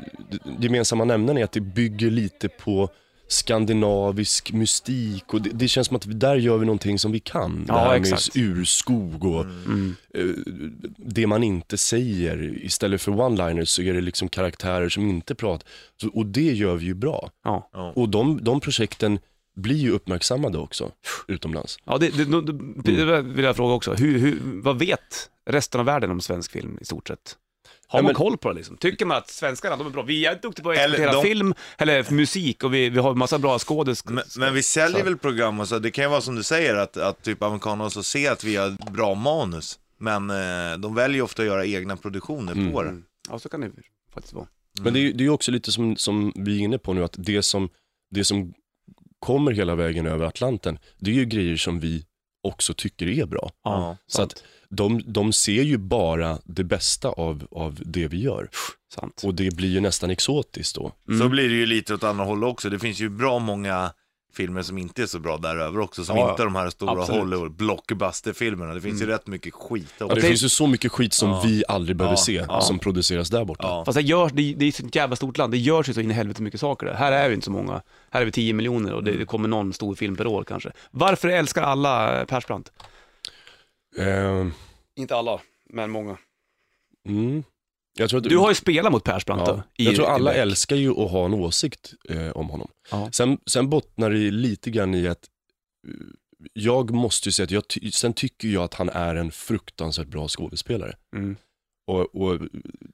gemensamma nämnaren är att det bygger lite på skandinavisk mystik och det, det känns som att vi- där gör vi någonting som vi kan.
Ja,
det här
exakt.
med urskog och
Mm.
eh, det man inte säger. Istället för one-liners så är det liksom karaktärer som inte pratar. Så- Och det gör vi ju bra.
Ja.
Och de, de projekten blir ju uppmärksammade också utomlands.
Ja, det, det, det, det det vill jag fråga också. Hur, hur, vad vet resten av världen om svensk film i stort sett? Har
Ja,
man
men-
koll på det liksom? Tycker man att svenskarna, de är bra. Vi är duktiga på att
Eller
exportera
de-
film, eller musik, och vi, vi har massa bra skådis.
Men, men vi säljer väl program och så, det kan ju vara som du säger att, att typ amerikaner också ser att vi har bra manus. Men eh, de väljer ju ofta att göra egna produktioner
Mm.
på det.
Ja, så kan det ju faktiskt vara.
Men det
Mm.
är ju det är ju också lite som, som vi är inne på nu, att det som, det som kommer hela vägen över Atlanten, det är ju grejer som vi också tycker är bra.
Ja.
Så att de, de ser ju bara det bästa av, av det vi gör.
Sant.
Och det blir ju nästan exotiskt då.
Mm.
Så blir det ju lite åt andra håll också. Det finns ju bra många filmer som inte är så bra däröver också, som
Ja, ja.
inte de här stora
Absolut.
Hollywood blockbuster-filmerna. Det finns ju rätt mycket skit
Ja,
också.
det finns ju så mycket skit som
Ja.
vi aldrig behöver
Ja.
se,
Ja.
som produceras där borta.
Ja.
Fast det görs, det, det är ett sånt jävla stort land, det görs ju så in i helvete mycket saker där. Här är vi inte så många, här är vi 10 miljoner och det, det kommer någon stor film per år kanske. Varför älskar alla Persbrandt?
Ehm,
Inte alla, men många.
mm. Jag tror att,
Du har ju spelat mot Persbrandt
ja.
då? i-
Jag tror alla
i Beck.
älskar ju att ha en åsikt eh, om honom.
Ja.
Sen, sen bottnar det lite grann i att eh, jag måste ju säga att jag ty- sen tycker jag att han är en fruktansvärt bra skådespelare.
Mm.
Och, och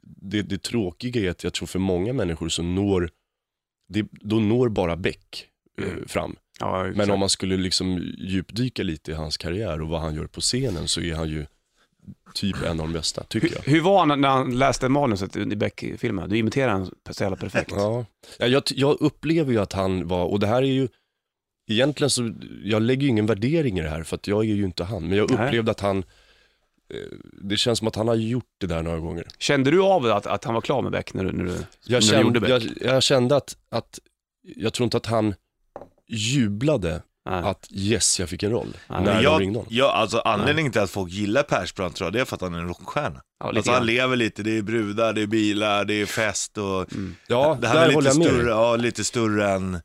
det, det tråkiga är att jag tror för många människor så når, det, då når bara Beck eh,
Mm.
fram.
Ja, exakt.
Men om man skulle liksom djupdyka lite i hans karriär och vad han gör på scenen så är han ju typ en av de bästa, tycker jag.
Hur, hur var han när han läste manuset i Beck-filmen? Du imiterar han så jävla perfekt.
Ja. Ja, jag, jag upplever ju att han var, och det här är ju, egentligen så, jag lägger ju ingen värdering i det här för att jag är ju inte han, men jag
Nej.
upplevde att han, eh, det känns som att han har gjort det där några gånger.
Kände du av att, att han var klar med Beck när du, när du, när
Jag
du gjorde
kände,
Beck?
jag, jag kände att, att, jag tror inte att han jublade
Nej.
att yes, jag fick en roll,
Nej.
när de ringde
jag,
honom.
jag, alltså anledningen till att folk gillar Persbrandt tror jag, det är för att han är en rockstjärna.
Ja, lite
Alltså han
grann.
lever lite, det är brudar, det är bilar, det är fest och
Mm.
Ja,
det
det
här är
där håller
lite
jag med dig.
större, ja, lite större än,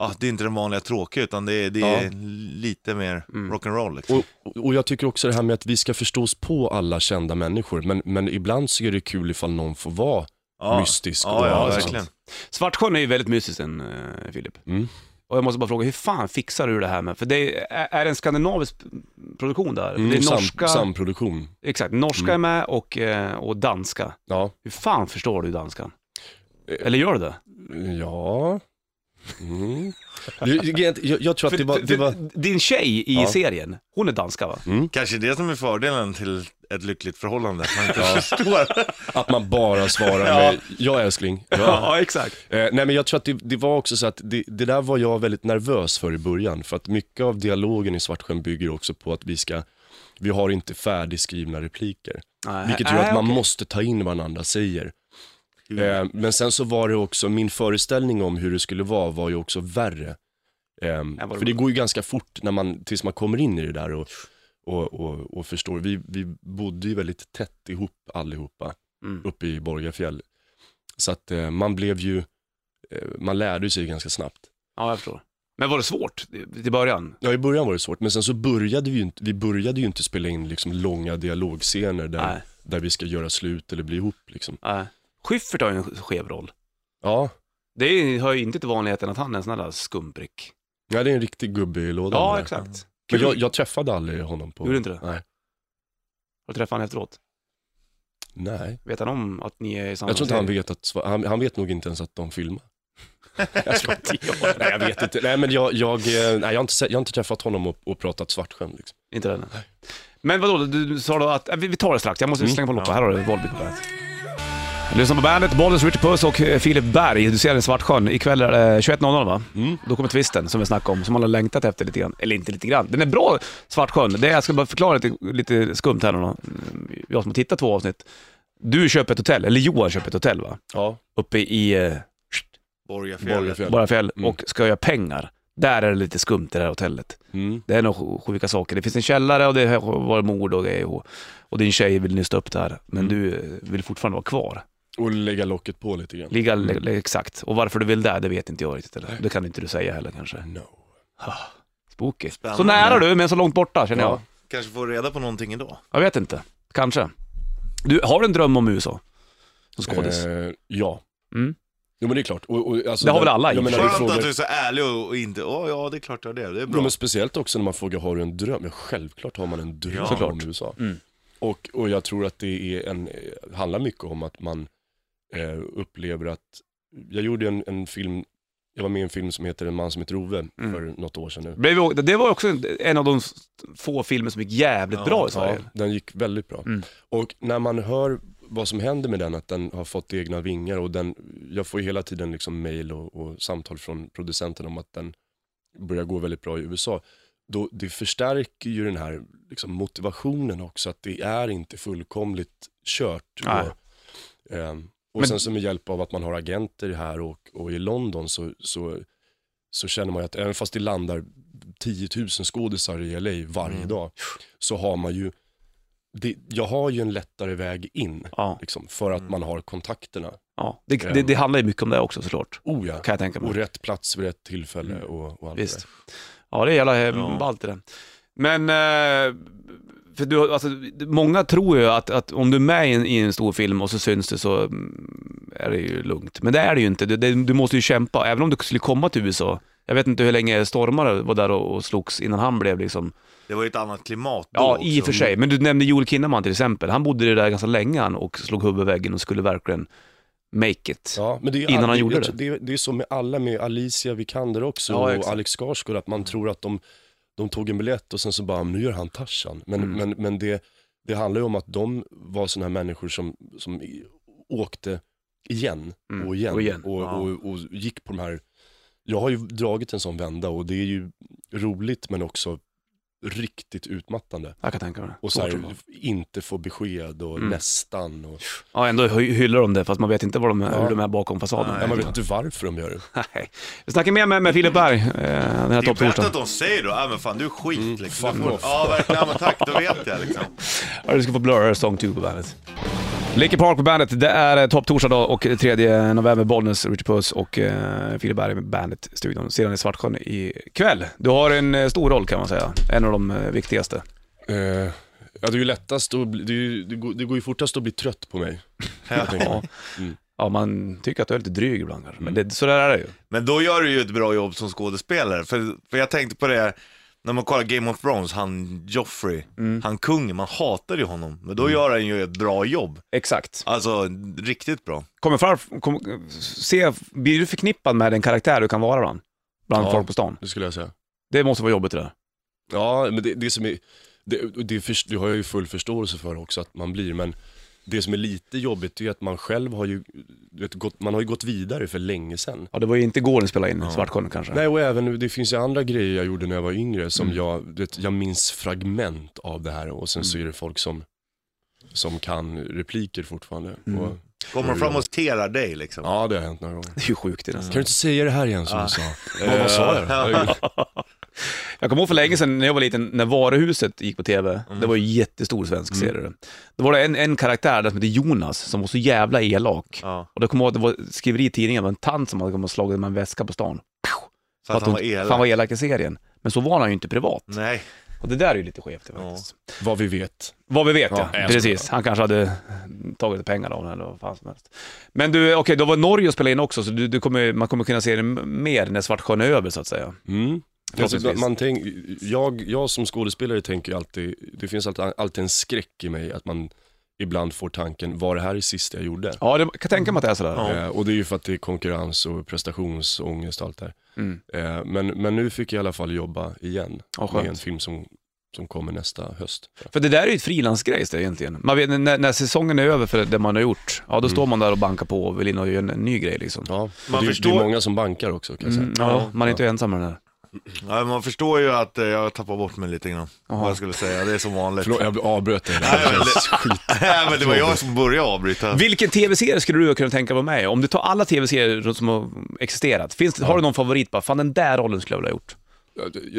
ja, det är inte den vanliga tråkiga utan det är, det är
Ja.
lite mer
Mm.
rock'n'roll liksom.
Och, och jag tycker också det här med att vi ska förstås på alla kända människor, men, men ibland så är det kul ifall någon får vara
ja.
mystisk.
Ja, ja,
och-
verkligen.
Svartsjön är ju väldigt mystisk den, eh, Filip.
Mm.
Och jag måste bara fråga, hur fan fixar du det här med, för det är, är det en skandinavisk produktion där?
Mm,
det är
sam,
norska,
Samproduktion.
exakt, norska är med och, eh, och danska.
Ja.
Hur fan förstår du danskan?
Eh,
Eller gör du det?
Ja. Mm. Jag, jag- jag, jag tror att det var... Det var
För Din tjej i
Ja. Mm.
serien, hon är danska va?
Kanske det som är fördelen till ett lyckligt förhållande, att man inte förstår.
att man bara svarar med ja älskling. Ja.
exakt.
Eh, nej men jag tror att det, det var också så att det, det där var jag väldigt nervös för i början. För att mycket av dialogen i Svartsjön bygger också på att vi ska, vi har inte färdigskrivna repliker.
Nej,
Vilket gör
nej,
att man
okej.
måste ta in vad den andra säger. Eh, men sen så var det också, min föreställning om hur det skulle vara var ju också värre. Eh,
vad det
för det går ju ganska fort när man, tills man kommer in i det där och, och, och, och förstår. Vi, vi bodde ju väldigt tätt ihop allihopa
Mm.
uppe i Borgafjäll. Så att eh, man blev ju, eh, man lärde sig ganska snabbt.
Ja, jag förstår. Men var det svårt i i början?
Ja, i början var det svårt, men sen så började vi ju inte, vi började ju inte spela in liksom långa dialogscener där,
Nej.
där vi ska göra slut eller bli ihop. Liksom.
Nej. Äh, Schyffert har ju en skev roll.
Ja,
Det är- hör ju inte till vanligheten att han är en sån där skumprick.
ja, det är en riktig gubbe i lådan.
Ja,
där.
exakt.
Men
Kul.
jag, jag träffade aldrig honom på...
Gjorde du inte det?
Nej.
Och träffade han efteråt.
Nej.
Vet han om att ni är i samma
Jag tror inte han
serie?
vet att, han, han vet nog inte ens att de filmar. jag tror inte jag, nej jag vet inte, nej men jag, jag, eh, nej, jag, har, inte, sett- jag har inte träffat honom och, och pratat svartskämt liksom.
Inte den. Men vadå, du, du sa då att, äh, vi, vi tar det strax, jag måste slänga på loppa. Här har du Volbeat på bandet. Lyssna på bandet, Bollens Richard Puss och eh, Filip Berg. Du ser den i Svartsjön. Ikväll är det eh, 21.00 va? Då kommer twisten som vi snackade om, som man har längtat efter lite grann. Eller inte lite grann, den är bra Svartsjön. Det, jag ska bara förklara lite, lite skumt här nu då. Mm, Jag som har tittat två avsnitt. Du köper ett hotell, eller Johan köper ett hotell va?
Ja,
Uppe i eh,
Borgafjället.
Borgafjäll.
bara fel
Mm.
och ska göra pengar. Där är det lite skumt i det här hotellet.
Mm.
Det är nog sjuka saker. Det finns en källare och det har varit mord och grejer. och- Och din tjej vill nysta upp där, men
Mm.
du eh, vill fortfarande vara kvar.
Och lägga locket på lite grann.
Ligga le- le- exakt. Och varför du vill där, det vet inte jag riktigt. Eller? Det kan inte du säga heller kanske.
No.
Spooky. Så
Spännande.
nära du, men så långt borta känner jag.
Ja.
Kanske får reda på någonting idag.
Jag vet inte. Kanske. Du, har du en dröm om USA? Som skådis?
Eh, ja.
Mm.
Jo men det är klart. Och, och, alltså,
Det har
den-
väl alla i
jag
och för
menar,
sig.
du
Skönt
frågar,
att du är så ärlig och och inte, åh ja det är klart jag har det, det är
Ja,
bra.
men speciellt också när man frågar, har du en dröm? Ja, självklart har man en dröm
Såklart.
om USA.
Mm.
Och, och jag tror att det är en, eh, handlar mycket om att man eh, upplever att, jag gjorde en, en film, jag var med i en film som heter En man som heter Ove
Mm.
för något år sedan nu.
Blev vi- Det var också en- en av de få filmer som gick jävligt
Ja,
bra i
Ja,
Sverige.
den gick väldigt bra.
Mm.
Och när man hör vad som händer med den, att den har fått egna vingar och den, jag får ju hela tiden liksom mail och, och samtal från producenten om att den börjar gå väldigt bra i USA. Då, det förstärker ju den här liksom motivationen också, att det är inte fullkomligt kört.
Nej.
Och, ehm, och
Men-
sen så med hjälp av att man har agenter här och, och i London så, så, så känner man ju att även fast det landar 10 000 skådisar i LA varje
Mm.
dag, så har man ju, det, jag har ju en lättare väg in,
Ja.
liksom, för att man har kontakterna.
Ja, det, det,
Eh.
det handlar ju mycket om det också såklart,
Oh ja,
kan jag tänka mig. Mm.
och rätt plats vid rätt tillfälle och, och allt det
Visst.
där.
Ja, det är jävla ja.
Ja.
ballt det där. Men, eh, för du, alltså, många tror ju att, att om du är med i en, i en stor film och så syns det så mm, är det ju lugnt. Men det är det ju inte. Du, det, du måste ju kämpa, även om du skulle komma till USA. Jag vet inte hur länge Stormare var där och, och slogs innan han blev liksom...
Det var ju ett annat klimat då
Ja,
också.
i och för sig. Men du nämnde Joel Kinnaman till exempel. Han bodde ju där ganska länge han, och slog huvudet i väggen och skulle verkligen make it.
Ja, men det är,
Innan han
det,
gjorde
jag
det.
tror- det. är- Det är så med alla, med Alicia Vikander också
Ja,
och
exakt.
Alex Skarsgård, att man tror att de, de tog en biljett och sen så bara, nu gör han Tarzan. Men,
Mm.
men, men det, det handlar ju om att de var sådana här människor som, som i- åkte igen
Mm,
och igen,
och igen,
och,
ja.
och, och gick på de här, jag har ju dragit en sån vända och det är ju roligt men också riktigt utmattande.
Jag kan tänka mig det.
Och så
Torture.
här, inte få besked och
Mm.
nästan. Och,
Ja, ändå hy- hyllar de det, fast man vet inte vad de,
Ja.
hur de är bakom fasaden.
Nej.
ja, man vet inte varför de gör det.
Nej. Vi snackar mer med, med Filip Berg, eh, den här
Det är bättre att
topptorsdagen.
de säger då, ja men fan du är skit liksom.
fuck
Du får-
off.
Ja verkligen, ja, men tack, då vet jag liksom.
Ja, Du ska få Blur Song 2 på bandet. Linkin Park på bandet, det är eh, topptorsdag dag och 3 november, Bollnäs, Richard Puss och eh, Filip Berg med bandet-studion. Sedan i Svartsjön ikväll. Du har en eh, stor roll kan man säga, en av de eh, viktigaste.
Eh, ja, det är ju lättast att bli, det, är ju, det, går, det går ju fortast att bli trött på mig. Jag tänker.
Ja. ja, man tycker att du är lite dryg ibland kanske, men det, så där är det ju.
Men då gör du ju ett bra jobb som skådespelare, för, för jag tänkte på det, när man kollar Game of Thrones, han Joffrey, han kungen, man hatar ju honom, men då gör han ju ett bra jobb.
Exakt.
Alltså riktigt bra.
Kommer fram, kom, se, blir du förknippad med den karaktär du kan vara bland, bland
Ja.
folk på stan?
Det skulle jag säga.
Det måste vara jobbigt det där.
Ja, men det, det som är, det, och det, först- det har jag ju full förståelse för också att man blir, men det som är lite jobbigt är ju att man själv har ju, du vet, gått, man har ju gått vidare för länge sedan.
Ja, det var ju inte igår ni spelade in Svartsjön kanske.
Nej, och även nu, det finns ju andra grejer jag gjorde när jag var yngre som jag, du vet, jag minns fragment av det här och sen så är det folk som, som kan repliker fortfarande. Och,
Kommer de fram och terar dig liksom?
ja, det har hänt några gånger.
Det är ju sjukt det nästan.
Kan du inte säga det här igen som du sa?
Eh,
Ja, vad sa jag? då?
Jag kommer ihåg för länge sedan när jag var liten, när Varuhuset gick på TV.
Mm.
Det var ju en jättestor svensk serie. Då var det en, en karaktär där som hette Jonas, som var så jävla elak.
Ja.
Och då kommer jag ihåg att det var skriveri i tidningen, det var en tant som hade kommit och slagit med en väska på stan.
Så att han var elak. Mm.
Fan vad elak i serien. Men så var han ju inte privat.
Nej.
Och det där är ju lite skevt faktiskt.
Vad vi vet.
Vad vi vet ja,
Ja, jag
precis. Han kanske hade tagit pengar av den eller vad fan som helst. Men du, okej, då var Norge och spelade in också, så du, du kommer, man kommer kunna se den mer när Svartsjön är över så att säga.
Mm.
Förhoppningsvis.
Alltså, man tänk, jag, jag som skådespelare tänker ju alltid, det finns alltid, alltid en skräck i mig att man ibland får tanken, var det här det sista jag gjorde?
Ja, det, jag kan tänka mig att det är sådär.
Ja.
Eh, och det är ju för att det är konkurrens och prestationsångest och allt det här.
Mm.
Eh, men, men nu fick jag i alla fall jobba igen
Ja, skönt.
med en film som, som kommer nästa höst.
För det där är ju ett frilansgrejs det egentligen. Man vet, när, när säsongen är över för det man har gjort, ja då
Mm.
står man där och bankar på och vill in och göra en, en ny grej liksom.
Ja,
Man
man det, förstår... det
förstår-
är många som bankar också kan jag säga.
Mm, ja, man är inte ensam med den här.
Ja, man förstår ju att eh, jag tappar bort mig lite grann. Vad jag skulle säga, det är som vanligt.
Förlåt, jag avbröt dig.
Nej, men
Det känns
det-
skit.
Nej, men det var jag som började avbryta.
Vilken tv-serie skulle du kunna tänka vara med i? Om du tar alla tv-serier som har existerat, finns, det- har du någon favorit bara, fan den där rollen skulle jag vilja ha gjort?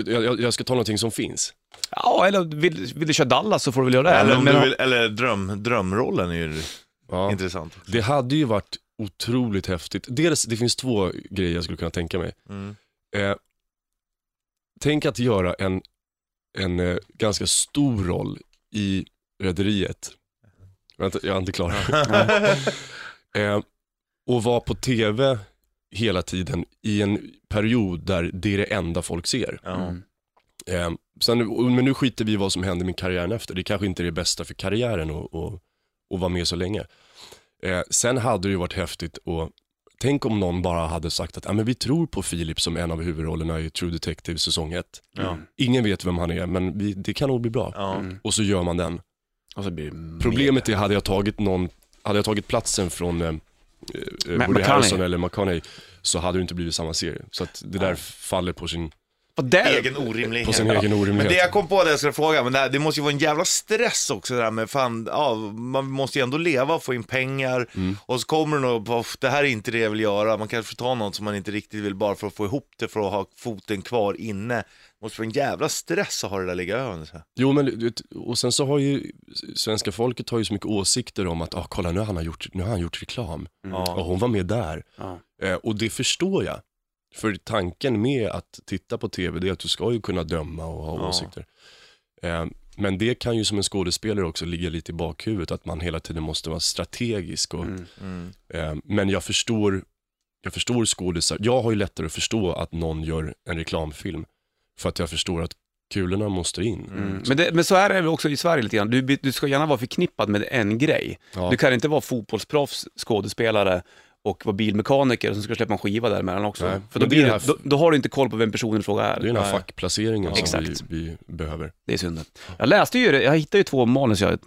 Jag, jag, jag ska ta någonting som finns.
Ja, eller vill, vill du köra Dallas så får du väl göra det.
Eller, om
Men-
du vill, eller dröm, drömrollen är ju
Ja.
intressant.
Det hade ju varit otroligt häftigt. Dels, det finns två grejer jag skulle kunna tänka mig.
Mm.
Eh, tänk att göra en, en eh, ganska stor roll i Rederiet. Vänta, jag är inte klar. eh, och vara på tv hela tiden i en period där det är det enda folk ser.
Ja.
Mm.
Eh, sen, men nu skiter vi i vad som händer med karriären efter. Det kanske inte är det bästa för karriären att, att, att vara med så länge. Eh, sen hade det ju varit häftigt att Tänk om någon bara hade sagt att ah, men vi tror på Filip som en av huvudrollerna i True Detective säsong 1.
Ja.
Ingen vet vem han är, men vi, det kan nog bli bra.
Ja.
Mm.
Och så gör man den.
Och så blir det
Problemet är, hade jag tagit, någon, hade jag tagit platsen från eh, eh, Woody
McConaughey.
Harrelson eller McConaughey så hade det inte blivit samma serie. Så att det där faller på sin,
Och där,
Egen
på
orimlighet.
sin egen orimlighet.
Men det jag kom på det jag skulle fråga, men det, här, det måste ju vara en jävla stress också det där med fan, ja, man måste ju ändå leva, få in pengar
Mm.
och så kommer det något, "Pff, det här är inte det jag vill göra, man kanske får ta något som man inte riktigt vill bara för att få ihop det, för att ha foten kvar inne. Det måste vara en jävla stress att ha det där ligga över sig.
Jo, men du vet, och sen så har ju svenska folket har ju så mycket åsikter om att, ah, kolla nu har, han har gjort, nu har han gjort reklam.
Mm.
Och hon var med där.
Ja.
Eh, och det förstår jag. För tanken med att titta på tv, det är att du ska ju kunna döma och ha
Ja.
åsikter. Eh, men det kan ju som en skådespelare också ligga lite i bakhuvudet, att man hela tiden måste vara strategisk. Och,
Mm.
Mm.
eh, men jag förstår, jag förstår skådisar. Jag har ju lättare att förstå att någon gör en reklamfilm, för att jag förstår att kulorna måste in.
Mm. Men, det, men så här är det också i Sverige lite grann. Du, by- du ska gärna vara förknippad med en grej.
Ja.
Du kan inte vara fotbollsproffs, skådespelare och vara bilmekaniker som ska släppa en skiva däremellan också.
Nej,
För
men
då,
det
blir
är
det,
det här-
då, då har du inte koll på vem personen i fråga är.
Det är den här
Nej.
fackplaceringen som vi,
Exakt.
vi behöver.
Det är synd. Jag läste ju, det- jag hittade ju två manus jag,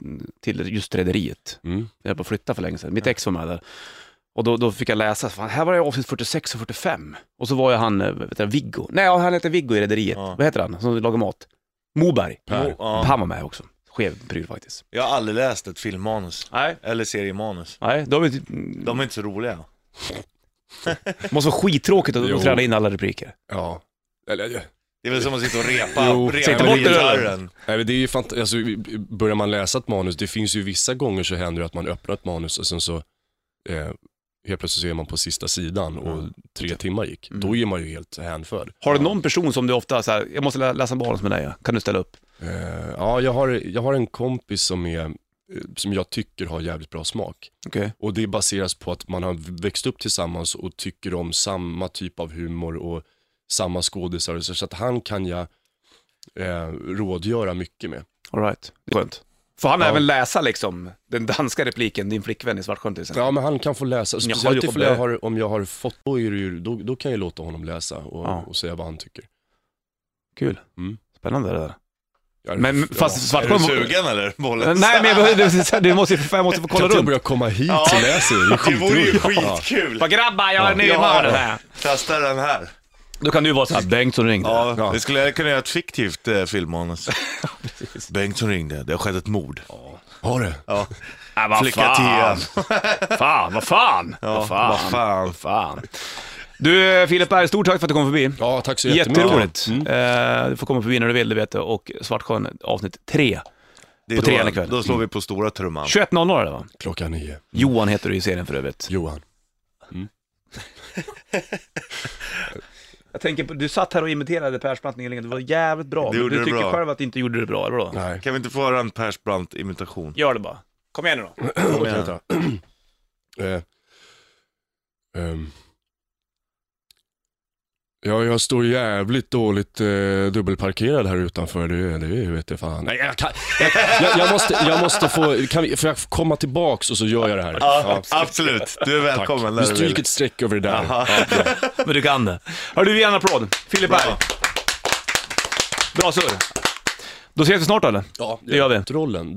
till just Rederiet.
Mm.
Jag höll på att flytta för länge sedan. Mitt ex var med där. Och då, då fick jag läsa, fan, här var jag i avsnitt 46 och 45. Och så var jag han, eh, vet jag, Viggo. Nej, ja, han heter Viggo i Rederiet.
Ja.
Vad heter han som lagar mat? Moberg.
Per.
Ja.
Han var med också. Skev pryl faktiskt.
Jag har aldrig läst ett filmmanus,
Nej.
eller seriemanus.
Nej, då har vi,
De är inte så roliga.
måste vara skittråkigt att
Jo.
att träna in alla repliker.
Ja. Eller, ja.
Det är väl som att sitta och repa,
Jo,
sitta
repa
bort
med
det där.
gitarren.
Nej, men det är ju fant- alltså, börjar man läsa ett manus, det finns ju vissa gånger så händer det att man öppnar ett manus och sen så eh, helt plötsligt så är man på sista sidan och tre timmar gick. Då är man ju helt hänförd.
Mm. Har du någon person som du ofta så här, jag måste lä- läsa en barn med dig, ja. kan du ställa upp?
Eh, ja, jag har, jag har en kompis som, är, eh, som jag tycker har jävligt bra smak.
Okej.
Och det baseras på att man har växt upp tillsammans och tycker om samma typ av humor och samma skådisar. och Så så att han kan jag eh, rådgöra mycket med.
Alright. Skönt. Får han
Ja.
även läsa liksom den danska repliken, din flickvän i Svartsjön till exempel?
Ja, men han kan få läsa.
Jaha,
Speciellt
du får
ifall jag
börja.
har, om jag har fått, då, är det ju, då, då kan jag låta honom läsa och,
Ja.
och säga vad han tycker.
Kul.
Mm.
Spännande det där.
Jag,
Men fast
Är du
Svartsjön...
sugen eller? Bollen?
Nej, men jag, du, du måste, jag måste få
kan
kolla
inte jag
runt.
börja komma hit
Ja.
och läsa? Det, är
Det vore ju
skitroligt.
skitkul.
Bara grabbar, jag är ny i
Ja,
målet
ja.
här.
Testa den här.
Då kan du vara såhär, Bengtsson ringde.
Ja,
Ja.
det skulle jag kunna göra ett fiktivt eh, filmmanus. Bengtsson ringde, det har skett ett mord.
Ja. Har du?
Ja.
Äh, vad
Flicka
fan.
Tia.
Fan, vad fan.
Ja,
vad fan.
vad fan.
Fan. Du eh, Filip Berg, stort tack för att du kom förbi.
Ja, tack så jättemycket.
Jätteroligt.
Mm.
Eh, Du får komma förbi när du vill, du vet det. Och Svartsjön avsnitt 3.
Det är
På
då-
trean ikväll.
Då slår vi på stora trumman.
21.00 är det va?
Klockan nio.
Johan heter du i serien för övrigt.
Johan.
Jag tänker på, du satt här och imiterade Persbrandt nyligen, det var jävligt bra.
Det gjorde
du
det
tycker
bra.
själv att du inte gjorde det bra, eller vadå?
Nej.
Kan vi inte få höra en Persbrandt-imitation?
Gör det bara. Kom igen nu då.
Kom igen.
Vänta. eh, ehm. Ja, jag står jävligt dåligt eh, dubbelparkerad här utanför. Det, det vet jag fan. Nej, jag, kan, jag, jag, jag, måste, jag måste få, kan vi, får jag komma tillbaks och så gör jag det här?
Ja, absolut. Du är
Tack.
välkommen. när
Vi
du vill.
stryker ett streck över det där.
Aha.
Men du kan det. Hör du, vi ger en applåd. Filip Berg.
Bra.
Bra surr. Då ses vi snart eller?
Ja,
det gör vi.
Trollen.